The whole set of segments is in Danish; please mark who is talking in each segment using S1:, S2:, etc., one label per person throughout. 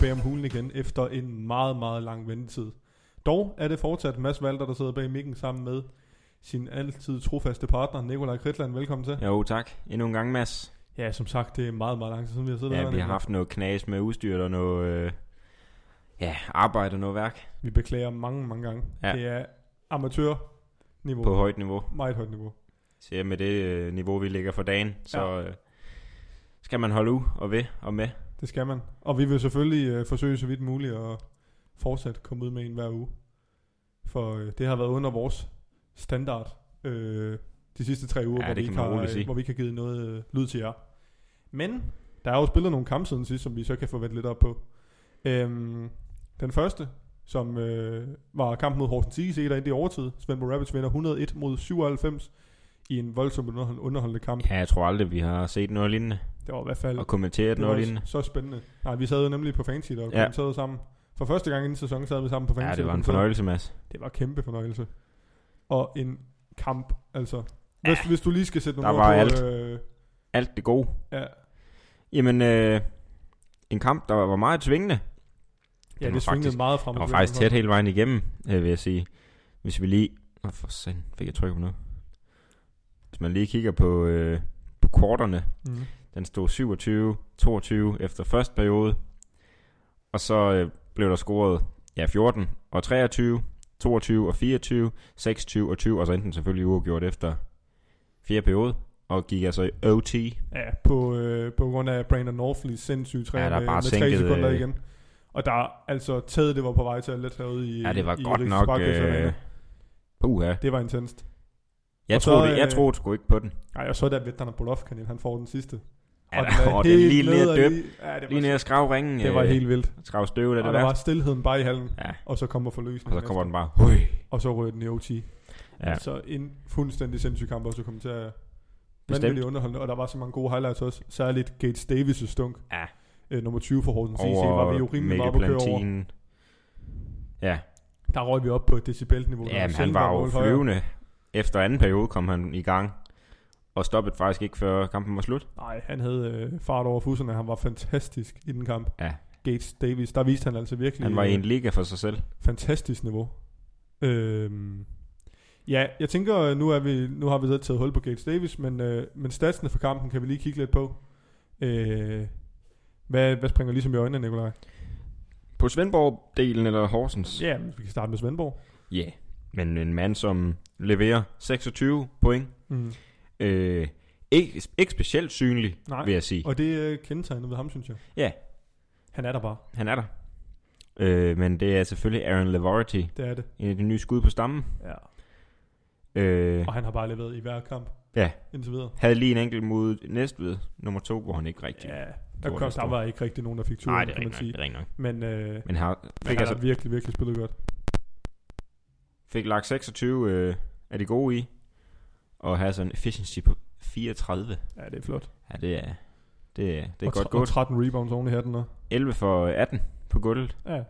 S1: bag om hulen igen efter en meget, meget lang ventetid. Dog er det fortsat Mads Valter, der sidder bag mikken sammen med sin altid trofaste partner, Nikolaj Kritland. Velkommen til.
S2: Jo, tak. Endnu en gang, Mads.
S1: Ja, som sagt, det er meget, meget lang tid siden, vi har siddet
S2: Ja,
S1: her.
S2: vi har
S1: Nikolaj.
S2: haft noget knas med udstyr og noget øh, ja, arbejde og noget værk
S1: Vi beklager mange, mange gange.
S2: Ja.
S1: Det er amatørniveau.
S2: på højt niveau.
S1: Meget højt niveau.
S2: Så ja, med det øh, niveau, vi ligger for dagen, så øh, skal man holde ud og ved og med.
S1: Det skal man. Og vi vil selvfølgelig øh, forsøge så vidt muligt at fortsat komme ud med en hver uge. For øh, det har været under vores standard øh, de sidste tre uger,
S2: Ja,
S1: hvor,
S2: det
S1: vi
S2: kan
S1: ikke
S2: man
S1: har,
S2: roligt
S1: øh,
S2: sige.
S1: hvor vi ikke har givet noget øh, lyd til jer. Men der er jo spillet nogle kampe siden sidst, som vi så kan få vendt lidt op på. Øhm, den første, som øh, var kampen mod Horsens Tigges 1 ind i overtid. Svendborg Rapids vinder 101 mod 97 i en voldsomt underhold- underholdende kamp.
S2: Ja, jeg tror aldrig, vi har set noget lignende
S1: Det var i hvert fald
S2: og kommenteret
S1: det var
S2: noget
S1: s-
S2: lignende.
S1: så spændende. Nej, vi sad jo nemlig på Fancy, og
S2: Ja.
S1: ja. sad sammen. For første gang inden sæsonen sad vi sammen på Fancy.
S2: Ja, det
S1: og
S2: var en
S1: kommenterede.
S2: fornøjelse, Mads.
S1: Det var kæmpe fornøjelse. Og en kamp, altså. Hvis, ja. hvis du lige skal sætte
S2: Der
S1: nogle
S2: var
S1: ord
S2: alt.
S1: på... Øh,
S2: Alt det gode.
S1: ja,
S2: Jamen, øh, en kamp, der var meget svingende.
S1: ja
S2: var
S1: det svingede
S2: faktisk-
S1: meget frem.
S2: Det
S1: og
S2: var
S1: tilbage.
S2: faktisk tæt hele vejen igennem, øh, vil jeg sige. Hvis vi lige... Åh, for sand, fik jeg trykket på noget. Hvis man lige kigger på, øh, på quarterne,
S1: Mm.
S2: den stod 27-22 efter første periode. Og så øh, blev der scoret ja, 14 og 23, 22 og 24, 26 og 20, og så enten selvfølgelig uafgjort efter fjerde periode, og gik altså i OT.
S1: Ja, på, øh, på grund af Brandon Northleys sindssyge træer
S2: Ja, der er
S1: med,
S2: bare
S1: med tre
S2: sænket,
S1: sekunder
S2: øh,
S1: igen. Og der altså taget det var på vej til at lette herude i
S2: Ja, det var
S1: i
S2: godt
S1: Rigs
S2: nok...
S1: Sparkasse Arena.
S2: Øh, puha.
S1: Det var intenst.
S2: Jeg,
S1: Og så,
S2: troede, jeg
S1: øh,
S2: troede sgu ikke på den.
S1: Ej, og så der Vettan Bolovkanin, han får den sidste.
S2: Ja,
S1: og
S2: der,
S1: er
S2: og det er
S1: helt
S2: lige ned
S1: og
S2: at døbe.
S1: lige- Ja, det var,
S2: Lige ned at skrave ringen. øh,
S1: det var helt vildt.
S2: Skrave støvet af
S1: Og
S2: det
S1: der var
S2: værste.
S1: stillheden bare i hallen,
S2: Ja,
S1: og så kommer
S2: og
S1: forløsningen.
S2: så kommer
S1: efter.
S2: den bare... Hui.
S1: Og så røg den i OT.
S2: Ja,
S1: Så en fuldstændig sindssyg kamp også at komme til at
S2: bestemt.
S1: vanvittigt underholdende, og der var så mange gode highlights også. Særligt Gates Davis' stunk.
S2: Ja.
S1: Øh, nummer 20 for Horsens CC var vi jo
S2: Over
S1: rimelig
S2: Mikkel
S1: meget på køre over.
S2: Plantin. Ja,
S1: Der røg vi op på et decibelniveau. der
S2: Ja, men
S1: selv
S2: han var jo
S1: mål højere.
S2: flyvende. Efter anden periode kom han i gang, og stoppede faktisk ikke, før kampen var slut.
S1: Nej, han havde øh, fart over fuserne. Han var fantastisk i den kamp.
S2: Ja.
S1: Gates Davis, der viste han altså virkelig
S2: Han var i
S1: øh,
S2: en liga for sig selv.
S1: fantastisk niveau. Øhm, ja, jeg tænker, øh, nu, er vi, nu har vi så taget hul på Gates Davis, men, øh, men statsene for kampen kan vi lige kigge lidt på. Øh, hvad, hvad springer ligesom i øjnene, Nikolaj?
S2: På Svendborg-delen, eller Horsens?
S1: Ja, vi kan starte med Svendborg.
S2: Ja. Men en mand, som leverer 26 point.
S1: Mm.
S2: Øh, ikke, ikke specielt synlig,
S1: Nej.
S2: vil jeg sige.
S1: Og det er kendetegnet ved ham, synes jeg.
S2: Ja.
S1: Han er der bare.
S2: Han er der. Øh, men det er selvfølgelig Aaron Lavority,
S1: Det er det.
S2: en af de nye skud på stammen.
S1: Ja.
S2: Øh,
S1: Og han har bare leveret i hver kamp.
S2: Ja.
S1: Indtil videre.
S2: havde lige en enkelt mod Næstved, nummer to, hvor han ikke rigtig...
S1: Ja,
S2: det
S1: der,
S2: var
S1: kom,
S2: det
S1: der
S2: store.
S1: var ikke rigtig nogen, der fik turen,
S2: Nej, det er
S1: kan man
S2: rigtigt nok.
S1: sige.
S2: Det er rigtigt nok.
S1: Men, øh,
S2: Men har,
S1: men
S2: fik,
S1: han
S2: altså,
S1: har virkelig, virkelig spillet godt.
S2: fik lagt 26 øh, er de gode i, og har sådan en efficiency på 34.
S1: Ja, det er flot.
S2: Ja, det er, det er, det er
S1: og
S2: godt
S1: tre- Og
S2: gået.
S1: 13 rebounds oven i hatten. Og,
S2: 11 for øh, 18 på gulvet.
S1: ja.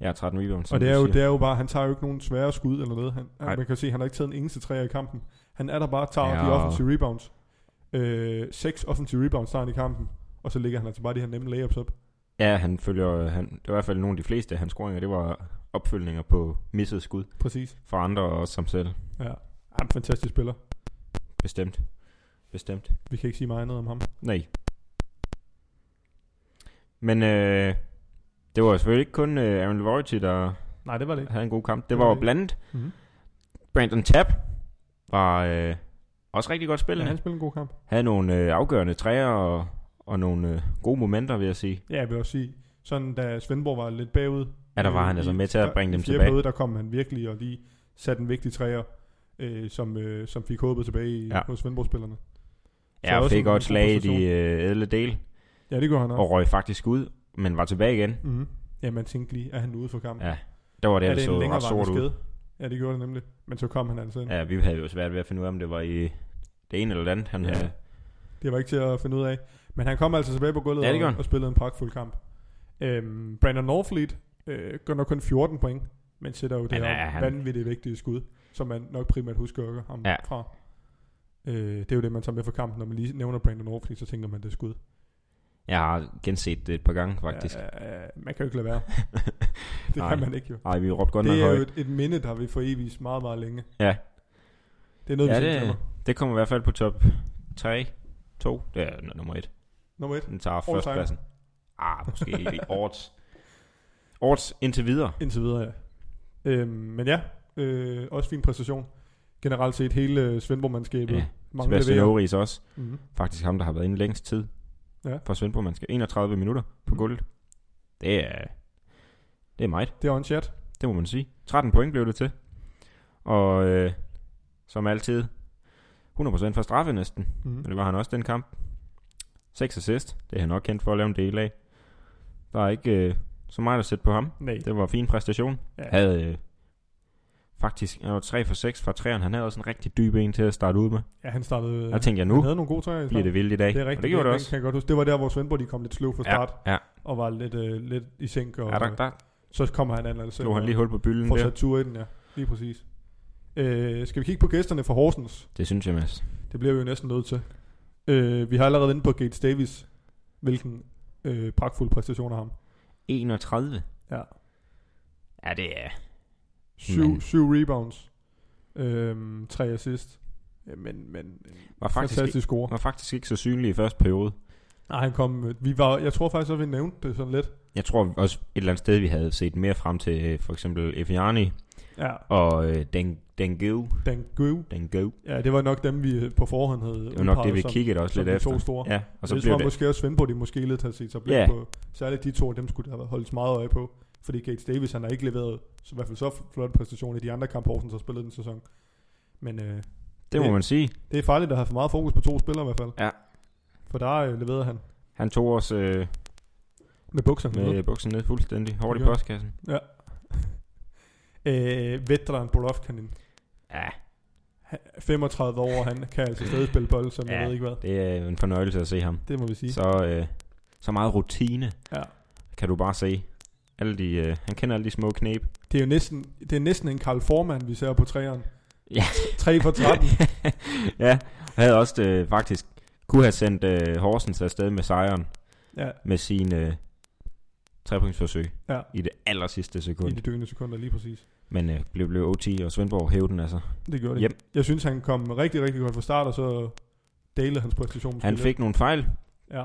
S2: Jeg har 13 rebounds,
S1: og
S2: som
S1: det er,
S2: du
S1: jo,
S2: siger.
S1: det er jo bare, han tager jo ikke nogen svære skud eller noget. Han,
S2: Nej.
S1: han, man kan se, han har ikke taget en eneste træer i kampen. Han er der bare, tager ja.
S2: Ja,
S1: de
S2: og-
S1: offensive rebounds. Øh, seks offensive rebounds tager han i kampen. Og så ligger han altså bare de her nemme layups op.
S2: Ja, han følger, øh, han, det var i hvert fald nogle af de fleste af hans scoringer, det var opfølgninger på missede skud
S1: Præcis.
S2: fra andre og også som selv.
S1: Ja. Han er en fantastisk spiller.
S2: Bestemt. Bestemt.
S1: Vi kan ikke sige meget andet om ham.
S2: Nej. Men øh, det var selvfølgelig ikke kun øh, Aaron Lavority, der
S1: Nej, det var det ikke.
S2: havde en god kamp. Det
S1: Det var
S2: var
S1: det.
S2: blandt
S1: Mm-hmm.
S2: Brandon Tapp var øh, også rigtig godt
S1: Ja,
S2: spillende. Ja,
S1: han spillede en god kamp.
S2: Havde nogle øh, afgørende træer og, og nogle øh, gode momenter, vil jeg sige.
S1: Ja, jeg vil også sige, sådan da Svendborg var lidt bagud.
S2: Ja, der var
S1: øh,
S2: han altså
S1: i-
S2: med til at
S1: i
S2: bringe dem
S1: fjerde
S2: tilbage.
S1: Periode, der kom han virkelig og lige satte en vigtig træer, øh, som, øh, som fik håbet tilbage i, ja.
S2: Ja.
S1: hos Svendborg-spillerne. Så
S2: Ja, og
S1: også
S2: fik
S1: en
S2: godt
S1: god
S2: slag i de
S1: præstation.
S2: øh, ædle dele,
S1: Ja, det gjorde han også.
S2: og røg faktisk ud, men var tilbage igen.
S1: Mm-hmm. Ja, man tænkte lige, er han ude for kampen?
S2: Ja, Der var det,
S1: er
S2: ja,
S1: det
S2: det så
S1: en
S2: ret sort
S1: længerevarende
S2: ud.
S1: skade? Ja, det gjorde det nemlig. Men så kom han altså ind. Ja.
S2: Ja, vi havde jo svært ved at finde ud af, om det var i det ene eller det andet. Han,
S1: Ja.
S2: ja. havde,
S1: Det var ikke til at finde ud af. Men han kom altså tilbage på gulvet
S2: Ja, det gjorde
S1: og,
S2: han.
S1: og spillede en pragtfuld kamp. Øhm, Brandon Norfleet øh, gør nok kun 14 point, men sætter jo det
S2: Han
S1: her
S2: er- han-
S1: vanvittigt vigtige skud, som man nok primært husker ham ja.
S2: Ja.
S1: fra. Øh, det er jo det, man tager med fra kampen. Når man lige nævner Brandon Norfleet, så tænker man, det er skud.
S2: Jeg har genset det et par gange, faktisk.
S1: Ja, ja, ja, man kan jo ikke lade være. det
S2: Nej.
S1: kan man ikke jo.
S2: Nej, vi råbte godt nok
S1: Det er jo
S2: højt.
S1: et, et minde, der vil forevigt meget, meget længe.
S2: Ja.
S1: Det er noget, vi
S2: Ja,
S1: ja,
S2: det-
S1: det...
S2: Det kommer i hvert fald på top 3, 2. Det er n- nummer 1.
S1: Nummer et,
S2: Den tager
S1: time.
S2: førstpladsen. Ah, måske i årets. Årets indtil videre.
S1: indtil videre, ja. Øhm, men ja, øh, også fin præstation. Generelt set hele øh, Svendborg-mandskabet.
S2: Ja,
S1: Ja, mange
S2: Sebastian
S1: leverer.
S2: Aarhus også.
S1: Mm-hmm.
S2: Faktisk ham, der har været inde længst tid
S1: Ja.
S2: for Svendborg. Man skal 31 minutter på
S1: Mm.
S2: gulvet. Det er, det er meget.
S1: Det er on chat.
S2: Det må man sige. 13 point blev det til. Og øh, som altid, 100% for straffe næsten.
S1: Mm-hmm.
S2: Men det var han også den kamp. 6 assist. Det er han nok kendt for at lave en del af. Der er ikke øh, så meget at sætte på ham.
S1: Nej.
S2: Det var en fin præstation.
S1: Ja.
S2: Havde øh, faktisk han var 3 for 6 fra 3'eren. Han havde også en rigtig dyb en til at starte ud med.
S1: Ja, han startede...
S2: Der tænkte jeg,
S1: Han
S2: nu
S1: havde nogle gode træer i
S2: bliver
S1: starten.
S2: det vildt i dag.
S1: Det er
S2: Og
S1: rigtigt.
S2: det gjorde det
S1: den
S2: også.
S1: Kan jeg godt huske. Det var der, hvor Svendborg de kom lidt sløv fra start,
S2: Ja, ja.
S1: og var lidt, øh, lidt i sænk, og
S2: ja der, der
S1: så kommer han anden
S2: slog han lige hul på bylden
S1: for
S2: der.
S1: sat tur i den, ja. Lige præcis. Øh, skal vi kigge på gæsterne fra Horsens?
S2: Det synes jeg, Mads.
S1: Det bliver vi jo næsten nødt til. Øh, vi har allerede inde på Gates Davis, hvilken øh, pragtfuld præstation af ham.
S2: 31.
S1: Ja.
S2: Ja, det er... Men-
S1: Syv, syv rebounds, øh, tre assist, Øh, men, men
S2: Var faktisk, ikke,
S1: fantastisk score.
S2: var faktisk ikke så synlig i første periode.
S1: Nej, han kom, øh, vi var, jeg tror faktisk, at vi nævnte det sådan lidt.
S2: Jeg tror også et eller andet sted, vi havde set mere frem til øh, for eksempel Efiani
S1: Ja,
S2: og øh, Den Dengeu.
S1: Dan Gøv.
S2: Dengeu.
S1: Ja, det var nok dem, vi øh, på forhånd havde
S2: Det var nok det,
S1: udpeget
S2: vi
S1: som-
S2: kiggede også
S1: som
S2: lidt
S1: de
S2: efter.
S1: to store.
S2: Ja, og så
S1: det
S2: blev
S1: tror jeg
S2: det...
S1: måske også Svendborg, de måske lidt havde set sig blik
S2: Ja.
S1: yeah. på. Særligt de to, dem skulle der have været- holdt meget øje på. Fordi Gates Davis, han har ikke leveret så i hvert fald så flot præstation i de andre kampe, Horsens har spillet den sæson. Men øh,
S2: Det må
S1: Ja.
S2: man sige.
S1: det er farligt at have for meget fokus på to spillere i hvert fald.
S2: Ja.
S1: For der øh, leverede han
S2: Han tog os øh,
S1: med bukserne med.
S2: med buksen ned fuldstændig hårdt i
S1: Det gjorde
S2: postkassen.
S1: Øh, veteran Bolovkanin.
S2: Ja,
S1: Han- 35 år, han kan altså stadig spille bold, som
S2: Ja.
S1: jeg ved ikke hvad.
S2: det er jo en fornøjelse at se ham.
S1: Det må vi sige.
S2: Så, øh, så meget rutine,
S1: Ja.
S2: kan du bare se. Alle de, øh, han kender alle de små knep.
S1: Det er jo næsten, det er næsten en Karl Forman, vi ser på træerne.
S2: Ja.
S1: 3 for 13.
S2: ja, og havde også øh, faktisk kunne have sendt øh, Horsens afsted med sejren
S1: ja,
S2: med sin øh, trepunktsforsøg
S1: Ja.
S2: i det aller sidste sekund.
S1: i de døende sekunder, lige præcis.
S2: Men øh, blev, blev OT og Svendborg hævde den altså.
S1: Det gjorde det.
S2: Yep.
S1: Jeg synes, han kom rigtig, rigtig godt fra start, og så dalede hans præstation. måske
S2: Han
S1: lidt.
S2: fik nogle fejl.
S1: Ja,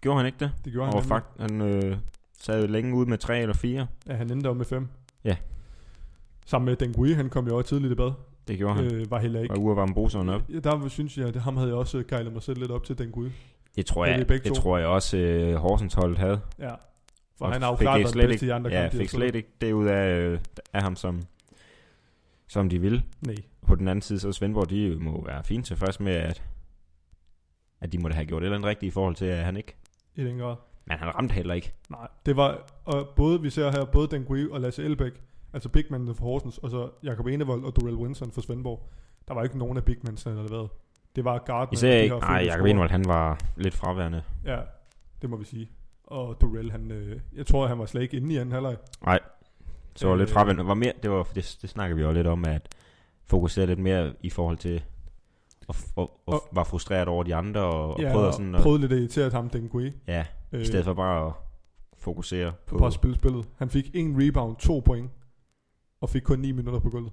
S2: Gjorde han ikke det?
S1: det gjorde han.
S2: Og
S1: nemlig.
S2: fakt, han øh, sad længe ude med tre eller fire.
S1: Ja, han endte jo med fem.
S2: Ja.
S1: Sammen med Dengui, han kom jo også tidligt i bad.
S2: Det gjorde han.
S1: Øh, var heller ikke.
S2: Og ude varme bruseren op.
S1: Ja, der synes jeg, at ham havde jeg også gejlet mig selv lidt op til Dengui.
S2: Det tror
S1: Ja, vi
S2: jeg,
S1: begge
S2: det
S1: to.
S2: tror jeg også øh, Horsens holdet havde.
S1: Ja. For
S2: Og
S1: han har jo
S2: fik
S1: klart
S2: det
S1: været
S2: slet
S1: den bedste i andre
S2: Ja,
S1: kampe. de har
S2: fik
S1: spillet.
S2: slet ikke det ud af, øh, af ham, som, som de ville.
S1: Nej.
S2: På den anden side, så Svendborg, de må være fint tilfredse med, at, at de måtte have gjort et eller andet rigtigt i forhold til, at han ikke...
S1: I den grad.
S2: Men han ramte heller ikke.
S1: Nej. Det var, og både vi ser her, både Dengui og Lasse Elbæk, altså bigmanden for Horsens, og så Jakob Enevold og Durell Winston for Svendborg. Der var ikke nogen af bigmansene, der havde været. Det var Gardner.
S2: Især
S1: og de
S2: ikke...
S1: her
S2: Nej,
S1: fem
S2: Jacob
S1: scorer.
S2: Envold, han var lidt fraværende.
S1: Ja, det må vi sige. Og Durell, han, øh, jeg tror, han var slet ikke inde i anden halvleg.
S2: Så var
S1: Øh.
S2: lidt fraværende. Var mere, det, var, det, det snakker vi jo lidt om, at fokusere lidt mere i forhold til... Og, og, og,
S1: Og-
S2: var frustreret over de andre, og, og
S1: ja,
S2: prøvede sådan...
S1: og
S2: at,
S1: prøvede lidt at irritere ham, den Gui,
S2: ja, i
S1: øh,
S2: stedet for bare at fokusere på...
S1: på at spille spillet. Han fik en rebound, to point, og fik kun 9 minutter på gulvet.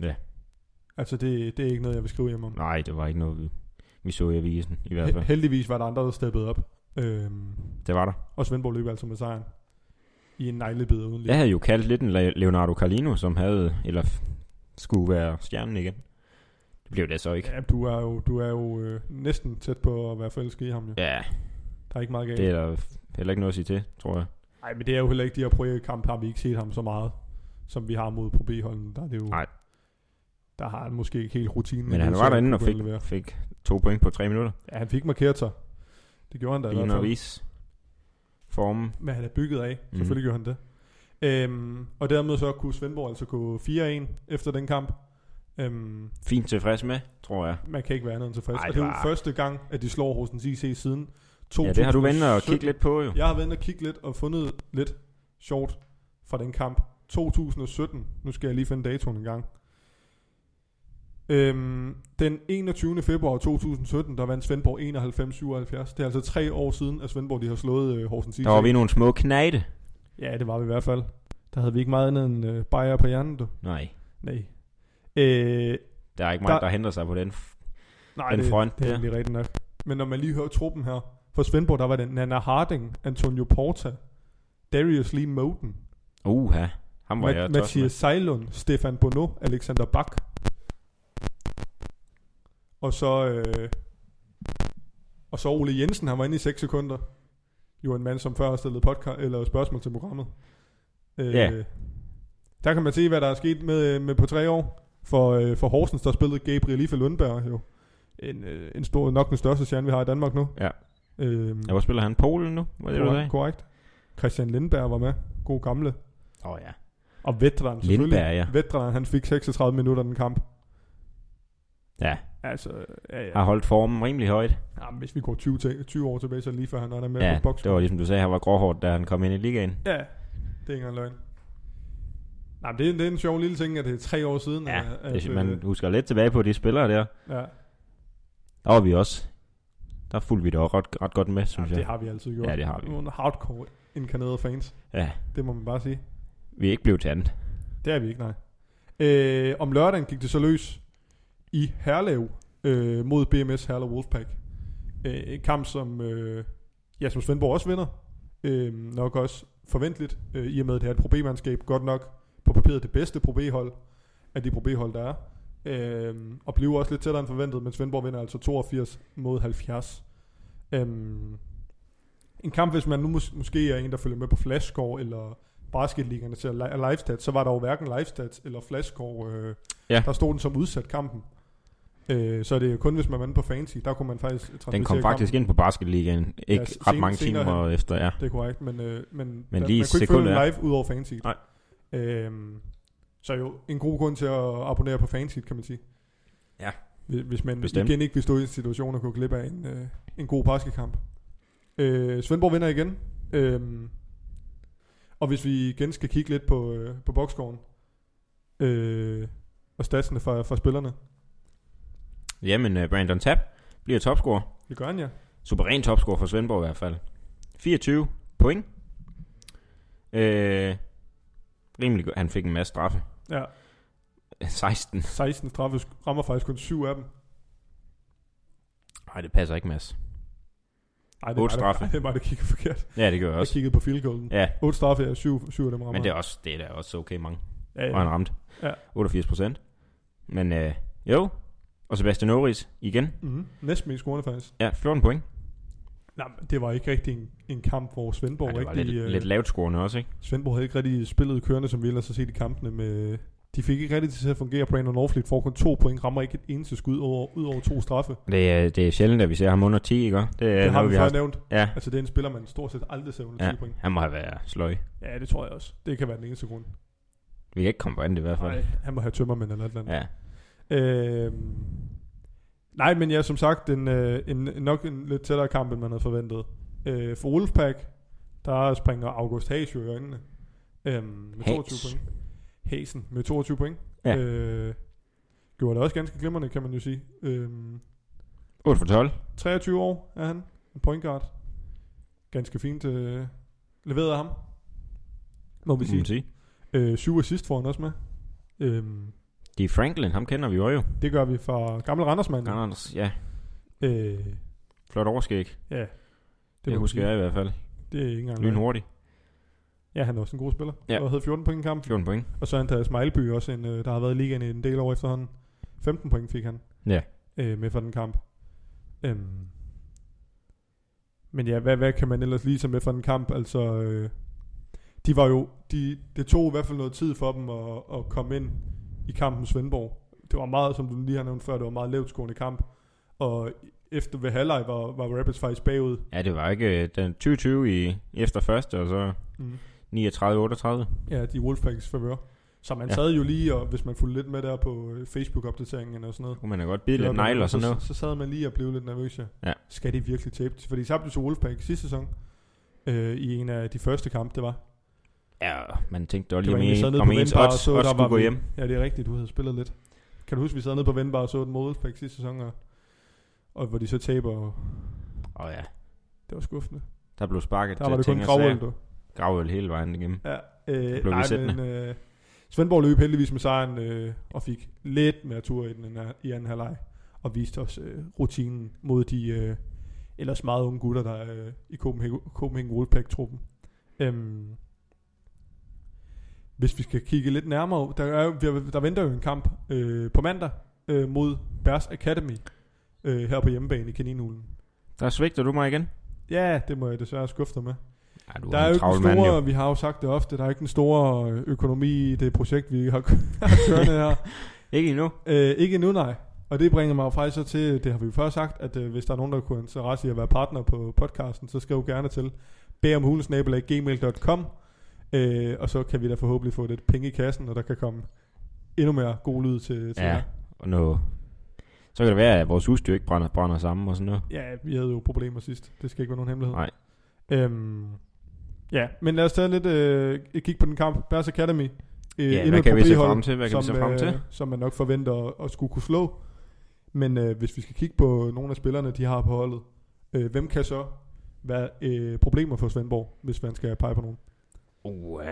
S2: Ja.
S1: Altså, det, det er ikke noget, jeg vil skrive hjem om.
S2: Nej, det var ikke noget, vi, vi så i avisen i hvert
S1: He-
S2: fald.
S1: heldigvis var der andre, der steppede op. Øhm,
S2: Det var der.
S1: og Svendborg løb altså med sejren. I en neglebid uden lige.
S2: Jeg havde jo kaldt lidt en Le- Leonardo Carlino, som havde, eller f- skulle være stjernen igen. Det blev det så ikke.
S1: Ja, du er jo, du er jo øh, næsten tæt på at være forelsket i ham. Jo.
S2: Ja,
S1: Der er ikke meget galt.
S2: det er der f- heller ikke noget at sige til, tror jeg.
S1: Nej, men det er jo heller ikke de her projektkampe, har vi ikke set ham så meget, som vi har mod Pro B-holden. Der er det jo...
S2: Nej.
S1: Der har han måske ikke helt rutinen.
S2: Men
S1: i
S2: han
S1: det,
S2: var
S1: så
S2: derinde og
S1: kunne
S2: fik,
S1: levere.
S2: fik to point på tre minutter.
S1: Ja, han fik markeret sig. Det gjorde han da i hvert
S2: Vin og
S1: fald.
S2: vis. Formen.
S1: Men han er bygget af.
S2: Mhm.
S1: Selvfølgelig gjorde han det. Øhm, og dermed så kunne Svendborg altså gå 4-1 efter den kamp. Øhm,
S2: Fint tilfreds med, tror jeg.
S1: man kan ikke være andet end tilfreds.
S2: Ej,
S1: Ej, og
S2: det
S1: det er jo
S2: var-
S1: første gang, at de slår Horsens IC siden
S2: Ja, det har du vendt og
S1: 2017.
S2: kigge lidt på, jo.
S1: Jeg har været inde og kigge lidt og fundet lidt sjovt fra den kamp. 2017. Nu skal jeg lige finde datoen en gang. Øhm, den 21. februar 2017, der vandt Svendborg 91-77. Det er altså tre år siden, at Svendborg de har slået øh, Horsens IC.
S2: Der var vi nogle små knægte.
S1: Ja, det var vi i hvert fald. Der havde vi ikke meget andet end øh, bajer på hjernen, du.
S2: Nej,
S1: Nej. Øh,
S2: der er ikke meget,
S1: Der-
S2: der, henter sig på den. f-
S1: nej,
S2: Den
S1: det,
S2: front
S1: det er
S2: der.
S1: egentlig rigtigt nok. Men når man lige hører truppen her, for Svendborg, der var det Nana Harding, Antonio Porta, Darius Lee Moden,
S2: Uha, ham var jeg
S1: Ma-
S2: tosset med.
S1: Mathias Sejlund, Stefan Bono, Alexander Bak. Og så, øh, og så Ole Jensen, han var inde i 6 sekunder. Jo en mand, som før har stillet podca- eller spørgsmål til programmet. Øh,
S2: Ja.
S1: Der kan man se, hvad der er sket med, øh, med på tre år. For, øh, for Horsens, der spillede Gabriel Ife Lundberg jo. En, øh, en stor, nok den største stjerne, vi har i Danmark nu.
S2: Ja.
S1: Øhm,
S2: Ja, hvor spiller han? Polen nu? Var det, du sagde?
S1: korrekt, korrekt. Christian Lindberg var med. God gamle.
S2: Åh oh, ja.
S1: Og Vetran selvfølgelig.
S2: Lindberg, ja.
S1: Vetran, han fik 36 minutter den kamp.
S2: Ja, Ah.
S1: Altså, ja, ja.
S2: har holdt formen rimelig højt.
S1: Jamen, hvis vi går 20, til, 20 år tilbage, så er det lige før han er der med
S2: Ja,
S1: på boks.
S2: det var ligesom du sagde, han var gråhårdt, da han kom ind i ligaen.
S1: Ja, det er ikke engang løgn. Nej, men det, er- det er en sjov lille ting, at det er tre år siden.
S2: Ja,
S1: at,
S2: Hvis
S1: øh,
S2: man husker lidt tilbage på de spillere der,
S1: ja.
S2: der var vi også. Der fulgte vi det også ret, ret godt med, synes
S1: Jamen, det
S2: jeg.
S1: har vi altid gjort.
S2: Ja, det har vi.
S1: Nogle hardcore inkarnerede fans.
S2: Ja.
S1: Det må man bare sige.
S2: Vi er ikke blevet til andet.
S1: Det er vi ikke, nej. Øh, om lørdagen gik det så løs i Herlev øh, mod BMS Herlev Wolfpack. Øh, en kamp, som, øh, ja, som Svendborg også vinder. Øh, nok også forventeligt, øh, i og med at det her et problemandskab. Godt nok på papiret det bedste Pro B-hold af de Pro B-hold, der er. Øh, og bliver også lidt tættere end forventet, men Svendborg vinder altså 82 mod 70. Øh, en kamp, hvis man nu mås- måske er en, der følger med på Flashscore, eller basketligerne til li- Livestats, så var der jo hverken Livestats eller Flashcore. Øh,
S2: Ja.
S1: Der stod den som udsat kampen. Øh, så det er kun, hvis man var inde på Fancy, der kunne man faktisk
S2: Den
S1: transmittere
S2: kom faktisk
S1: kampen.
S2: ind på basketligaen. Ikke
S1: sen-
S2: ret mange
S1: senere
S2: timer efter, ja.
S1: Det er korrekt, men, øh, men, der-
S2: Men lige
S1: man kunne ikke følge
S2: sekundet
S1: den
S2: er-
S1: live ud over Fancy.
S2: Nej.
S1: Øhm, så jo, en god grund til at abonnere på Fancy, kan man sige.
S2: Ja.
S1: Hvis- Hvis man Bestemt.
S2: Bestemt.
S1: igen ikke vil stå i en situation og gå glip af en, øh, en god baskekamp. Øh, Svendborg vinder igen. Øhm, og hvis vi igen skal kigge lidt på, øh, på bokscoren øh, og statsene fra, fra spillerne.
S2: Jamen, øh, Brandon Tapp bliver topscorer.
S1: Det gør han, ja.
S2: Suveræn topscorer for Svendborg i hvert fald. 24 point. Øh, rimelig godt. Han fik en masse straffe.
S1: ja.
S2: 16.
S1: 16 straffe rammer faktisk kun 7 af dem.
S2: Nej, det passer ikke, Mads.
S1: Ej, det er mig,
S2: Otte
S1: der-
S2: straffe.
S1: ej, det er mig, der kigger forkert.
S2: Ja, det gør jeg
S1: Jeg
S2: også.
S1: kiggede på field goalen.
S2: Ja,
S1: 8 straffe, ja, 7, 7 af dem rammer.
S2: men det er, også, det er da også okay mange.
S1: ja,
S2: Og
S1: ja.
S2: han ramte.
S1: Ja.
S2: 88 procent. Men øh, jo. Og Sebastian Norris igen.
S1: Mm-hmm. Næsten mest scorende faktisk.
S2: Ja, 14 point.
S1: Nej, men det var ikke rigtig en, en kamp, hvor Svendborg,
S2: Ej, det var
S1: rigtig,
S2: lidt,
S1: øh,
S2: lidt lavt scorende også, ikke?
S1: Svendborg havde ikke rigtig spillet kørende, som vi ellers har set i kampene. Med, de fik ikke rigtig til at fungere. Brandon Norfleet får kun to point, rammer ikke et eneste skud over, ud over to straffe. Det,
S2: Det er, det er sjældent, at vi ser ham under 10, ikke? Det, er
S1: det har
S2: noget,
S1: vi, vi før nævnt.
S2: Ja,
S1: Altså, det er en spiller, man stort set aldrig ser under
S2: Ja.
S1: 10 point.
S2: han må have været sløj.
S1: Ja, det tror jeg også. Det kan være den eneste grund.
S2: Vi kan ikke komme på andet i hvert fald.
S1: Nej, han må have tømmermænd eller et eller andet.
S2: Ja.
S1: Øhm, nej, men ja, som sagt, en, øh, en, nok en lidt tættere kamp, end man havde forventet. Øh, for Wolfpack, der springer August Hayes jo i øjnene. Øhm, med
S2: Hayes.
S1: 22 point. Hasen med 22 point.
S2: Ja.
S1: Øh, gjorde det også ganske glimrende, kan man jo sige. Øhm,
S2: 8 for 12.
S1: 23 år er han, en point guard. Ganske fint øh, leveret af ham, må vi
S2: Må man
S1: sige.
S2: sige.
S1: Øh, syv assist får han også med. Øhm,
S2: De Franklin, ham kender vi jo jo.
S1: det gør vi fra gammel Randersmand.
S2: Anders, ja.
S1: Øh,
S2: Flot overskæg. Det,
S1: Ja.
S2: det
S1: må
S2: husker
S1: man sige.
S2: jeg i hvert fald.
S1: Det er ikke engang løgn.
S2: Lynhurtigt.
S1: Ja, han er også en god spiller. Ja.
S2: Ja.
S1: Og havde 14 point i kampen.
S2: 14 point.
S1: Og så er Andreas Mejlby også, en, øh, der har været i ligaen i en del år efterhånden. 15 point fik han
S2: Ja.
S1: øh, med for den kamp. Øhm. Men ja, hvad, hvad kan man ellers lige tage med for den kamp? Altså, øh, de var jo, de, det tog i hvert fald noget tid for dem at, at komme ind i kampen med Svendborg. Det var meget, som du lige har nævnt før, det var en meget lavt skående kamp. Og efter ved halvleg var, var Rapids faktisk bagud.
S2: Ja, det var ikke øh, den 20-20 i, efter første, og så
S1: Mm.
S2: 39-38.
S1: Ja, de er Wolfpacks favør. Så man ja.
S2: Ja.
S1: sad jo lige, og hvis man fulgte lidt med der på øh, Facebook-opdateringen og sådan noget.
S2: Kunne man da godt bide lidt
S1: gjorde man,
S2: negler og sådan noget.
S1: Så, så sad man lige og blev lidt nervøs, ja.
S2: Ja.
S1: Skal de virkelig tabe? Fordi de tabte jo til Wolfpack sidste sæson, øh, i en af de første kampe, det var.
S2: Ja, man tænkte dog
S1: Det var
S2: lige
S1: egentlig sad
S2: med,
S1: nede
S2: om
S1: på
S2: ens
S1: Vindbar og
S2: odds,
S1: så,
S2: odds
S1: der var
S2: skulle gå
S1: vi-
S2: hjem.
S1: Ja, det er rigtigt, du havde spillet lidt. Kan du huske, vi sad nede på Vendbar og så den mod Wolfsburg sidste sæson, og, og hvor de så taber, og
S2: Og ja,
S1: det var skuffende.
S2: der blev sparket
S1: Der var det kun
S2: og sager.
S1: Kravøl, du.
S2: Gravøl hele vejen igennem.
S1: Ja, øh,
S2: blev vi
S1: nej,
S2: sættende.
S1: men, øh, Svendborg løb heldigvis med sejren øh, og fik lidt mere tur i, den, anden- i anden halvleg og viste os øh, rutinen mod de øh, ellers meget unge gutter, der er øh, i Copenhagen, Copenhagen Wolfpack-truppen. Øhm, hvis vi skal kigge lidt nærmere, der, er, jo- vi har- der venter jo en kamp øh, på mandag øh, mod Bærs Academy øh, her på hjemmebane i Kaninhulen.
S2: Der svigter du mig igen.
S1: Ja, det må jeg desværre skuffe dig med.
S2: Ej, du
S1: Der er
S2: en
S1: jo ikke
S2: travl
S1: den
S2: mand,
S1: store,
S2: jo.
S1: vi har jo sagt det ofte, der er ikke den store øh, økonomi i det projekt, vi har har kørende her.
S2: Ikke endnu.
S1: Øh, ikke endnu, nej. Og det bringer mig jo faktisk så til, det har vi jo før sagt, at øh, hvis der er nogen, der kunne have interesse i at være partner på podcasten, så skriv gerne til bærumhulensnabelag.gmail.com øh, og så kan vi da forhåbentlig få lidt penge i kassen, og der kan komme endnu mere god lyd til, til
S2: Ja.
S1: jer.
S2: Og nå. Så kan det være, at vores husdyr ikke brænder, brænder sammen og sådan noget.
S1: Ja, vi havde jo problemer sidst. Det skal ikke være nogen hemmelighed.
S2: Nej.
S1: Øhm, ja, men lad os tage lidt øh, et kig på den kamp. Bears Academy. Øh,
S2: Ja,
S1: endnu
S2: hvad
S1: et
S2: kan vi se
S1: B-hold,
S2: frem til? Hvad kan vi se frem til?
S1: Øh, som man nok forventer at, at skulle kunne slå. Men øh, hvis vi skal kigge på nogle af spillerne, de har på holdet, øh, hvem kan så være øh, problemer for Svendborg, hvis man skal pege på nogen? øh,
S2: Uh,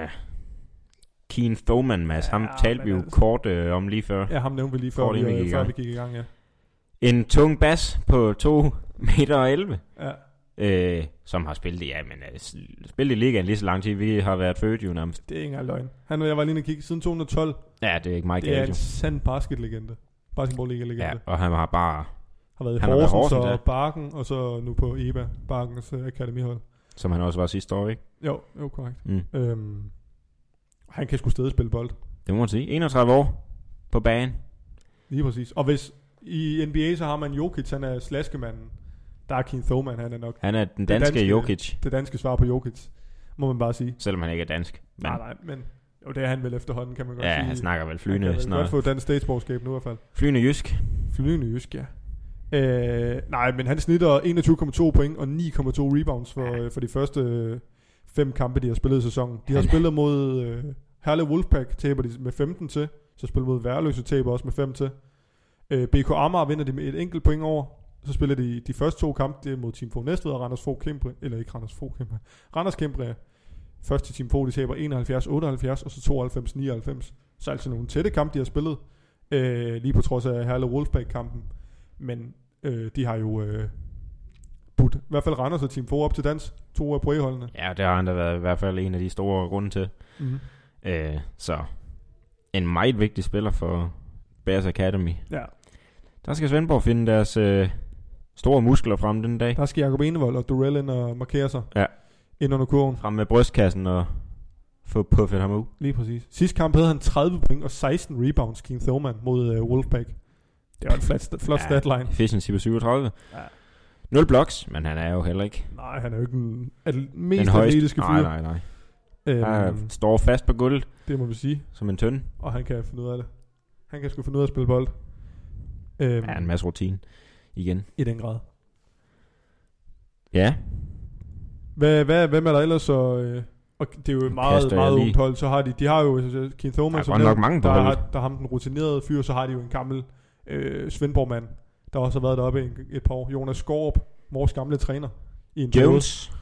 S2: Keen Thoman, Mads. Ham
S1: Ja,
S2: talte
S1: men
S2: vi jo
S1: altså-
S2: kort øh, om lige før.
S1: Ja, ham nævnte vi lige før,
S2: Kort
S1: vi,
S2: inden vi
S1: øh,
S2: gik i
S1: før
S2: gang.
S1: vi gik i gang. Ja.
S2: En tung bas på 2 meter og 11.
S1: ja.
S2: øh, som har spillet, i- ja, men øh, s- spillet i ligaen lige så lang tid, vi har været født jo nærmest.
S1: Det er ikke engang løgn. Han og jeg var lige inde og kigge siden 212.
S2: Ja, det er ikke mig
S1: Det er
S2: galt
S1: en
S2: jo.
S1: sand basketlegende. Basketball-legende.
S2: Ja, og han har bare,
S1: Har været i
S2: Han har været i
S1: Horsens,
S2: Horsens,
S1: og
S2: ja.
S1: Barken, og så nu på EBA, Barkens øh, akademihold.
S2: som han også var sidste år, ikke?
S1: Jo, jo, korrekt.
S2: Mm.
S1: Øhm, han kan sgu stadig spille bold,
S2: Det må man sige. 31 år på banen.
S1: lige præcis. Og hvis i NBA, så har man Jokic, han er slaskemanden. Der er Keith Thoman, han er nok
S2: Han er den danske,
S1: danske-
S2: danske Jokic,
S1: det danske svar på Jokic, må man bare sige.
S2: selvom han ikke er dansk. Men,
S1: Nej, nej, men jo, det er han vel efterhånden, kan man godt
S2: ja,
S1: sige.
S2: han snakker vel
S1: Han kan
S2: flydende,
S1: vel
S2: snart.
S1: godt få dansk statsborgerskab nu i hvert fald.
S2: flydende jysk.
S1: Flydende jysk, ja. Øh, nej, men han snitter 21,2 point og 9,2 rebounds for,
S2: Ja.
S1: ja. for de første øh, fem kampe, de har spillet i sæsonen. De har
S2: Han-
S1: spillet mod øh, Herlev Wolfpack, taber de med 15 til. Så spiller mod Værløse, taber også med 5 til. Øh, BK Amager vinder de med et enkelt point over. Så spiller de de første to kampe, det er mod Team Fogh Næstved og Randers Fogh Kæmpe, eller ikke Randers Fogh Kæmpe, Randers Kæmpe ja. Først til Team Fogh, de taber 71-78, og så 92-99. Så altså nogle tætte kampe, de har spillet, øh, lige på trods af Herlev Wolfsburg-kampen. Men øh, de har jo øh, budt, i hvert fald Randers og Team Fogh op til dans, to af pointholdene.
S2: Ja, det har han da været i hvert fald en af de store grunde til.
S1: Mm-hmm.
S2: Øh, så en meget vigtig spiller for Bears Academy.
S1: Ja.
S2: Der skal Svendborg finde deres øh, store muskler frem den dag.
S1: Der skal Jacob Enevold og Durell ind og markere sig
S2: Ja.
S1: ind under kurven.
S2: frem med brystkassen og få puffet ham ud.
S1: Lige præcis. Sidste kamp havde han 30 point og 16 rebounds, Keen Thoman, mod øh, Wolfpack. Det var en flot, st- flot
S2: Ja.
S1: ja. statline.
S2: Efficiency på 37.
S1: Ja.
S2: 0 blocks, men han er jo heller ikke
S1: Nej, han er jo ikke den atl-
S2: den
S1: mest
S2: højeste.
S1: atletiske
S2: Nej,
S1: fyr.
S2: nej, nej.
S1: Øhm,
S2: Han står fast på gulvet
S1: det må vi sige.
S2: som en tønde.
S1: Og han kan finde ud af det. Han kan sgu finde ud af at spille bold. Øhm,
S2: Ja, en masse rutine igen.
S1: I den grad.
S2: Ja,
S1: Hvad, hvad, hvem er der ellers? Og, øh, og det er jo et
S2: Nu
S1: meget,
S2: kaster jeg
S1: meget
S2: lige.
S1: ungt hold. Så har de, de har jo øh, Keith
S2: der
S1: Thoman,
S2: er godt nok
S1: nævnt.
S2: mange på
S1: der,
S2: holdet.
S1: har, der har ham den rutinerede fyr, så har de jo en gammel øh, Svendborg-mand, der også har været deroppe en, et par år. Jonas Skorp, vores gamle træner. I en periode.
S2: Jones.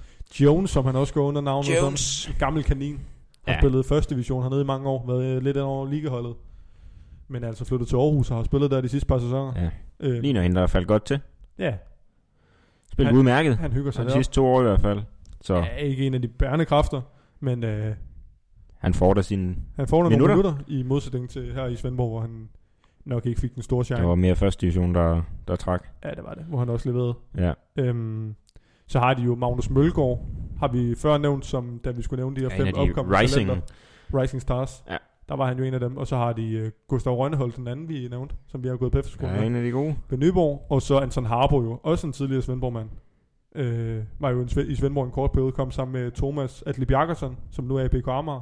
S1: Jones, som han også går under navnet. som. En gammel kanin. Har
S2: Ja.
S1: spillet første division hernede i mange år. Været øh, lidt ind over ligeholdet. Men er altså flyttet til Aarhus og har spillet der de sidste par sæsoner.
S2: Ja.
S1: Øh,
S2: Ligner hende, der er faldet godt til.
S1: ja,
S2: Spillet
S1: Han-
S2: udmærket.
S1: han hygger sig
S2: Så de
S1: der.
S2: sidste to år i hvert fald. Så
S1: Ja, ikke en af de bærende kræfter, men øh,
S2: han får da sin...
S1: Han får nogle minutter.
S2: Minutter.
S1: minutter i modsætning til her i Svendborg, hvor han nok ikke fik den store chance.
S2: Det var mere første division, der, der trak.
S1: Ja, det var det. Hvor han også leverede.
S2: Ja.
S1: Øhm, så har de jo Magnus Mølgaard, har vi før nævnt, som da vi skulle nævne de her
S2: Ja,
S1: fem
S2: en af de
S1: opkommende
S2: rising.
S1: talenter. Rising Stars.
S2: Ja.
S1: Der var han jo en af dem. Og så har de øh, Gustav Rønnehold, den anden vi nævnte, som vi har gået på efterskole
S2: Ja,
S1: med.
S2: en af de gode.
S1: Ved Nyborg. Og så Anton Harbo jo, også en tidligere Svendborg-mand. Øh, var jo en, Sve- i Svendborg en kort periode, kom sammen med Thomas Atli Bjarkerson, som nu er i BK Amager.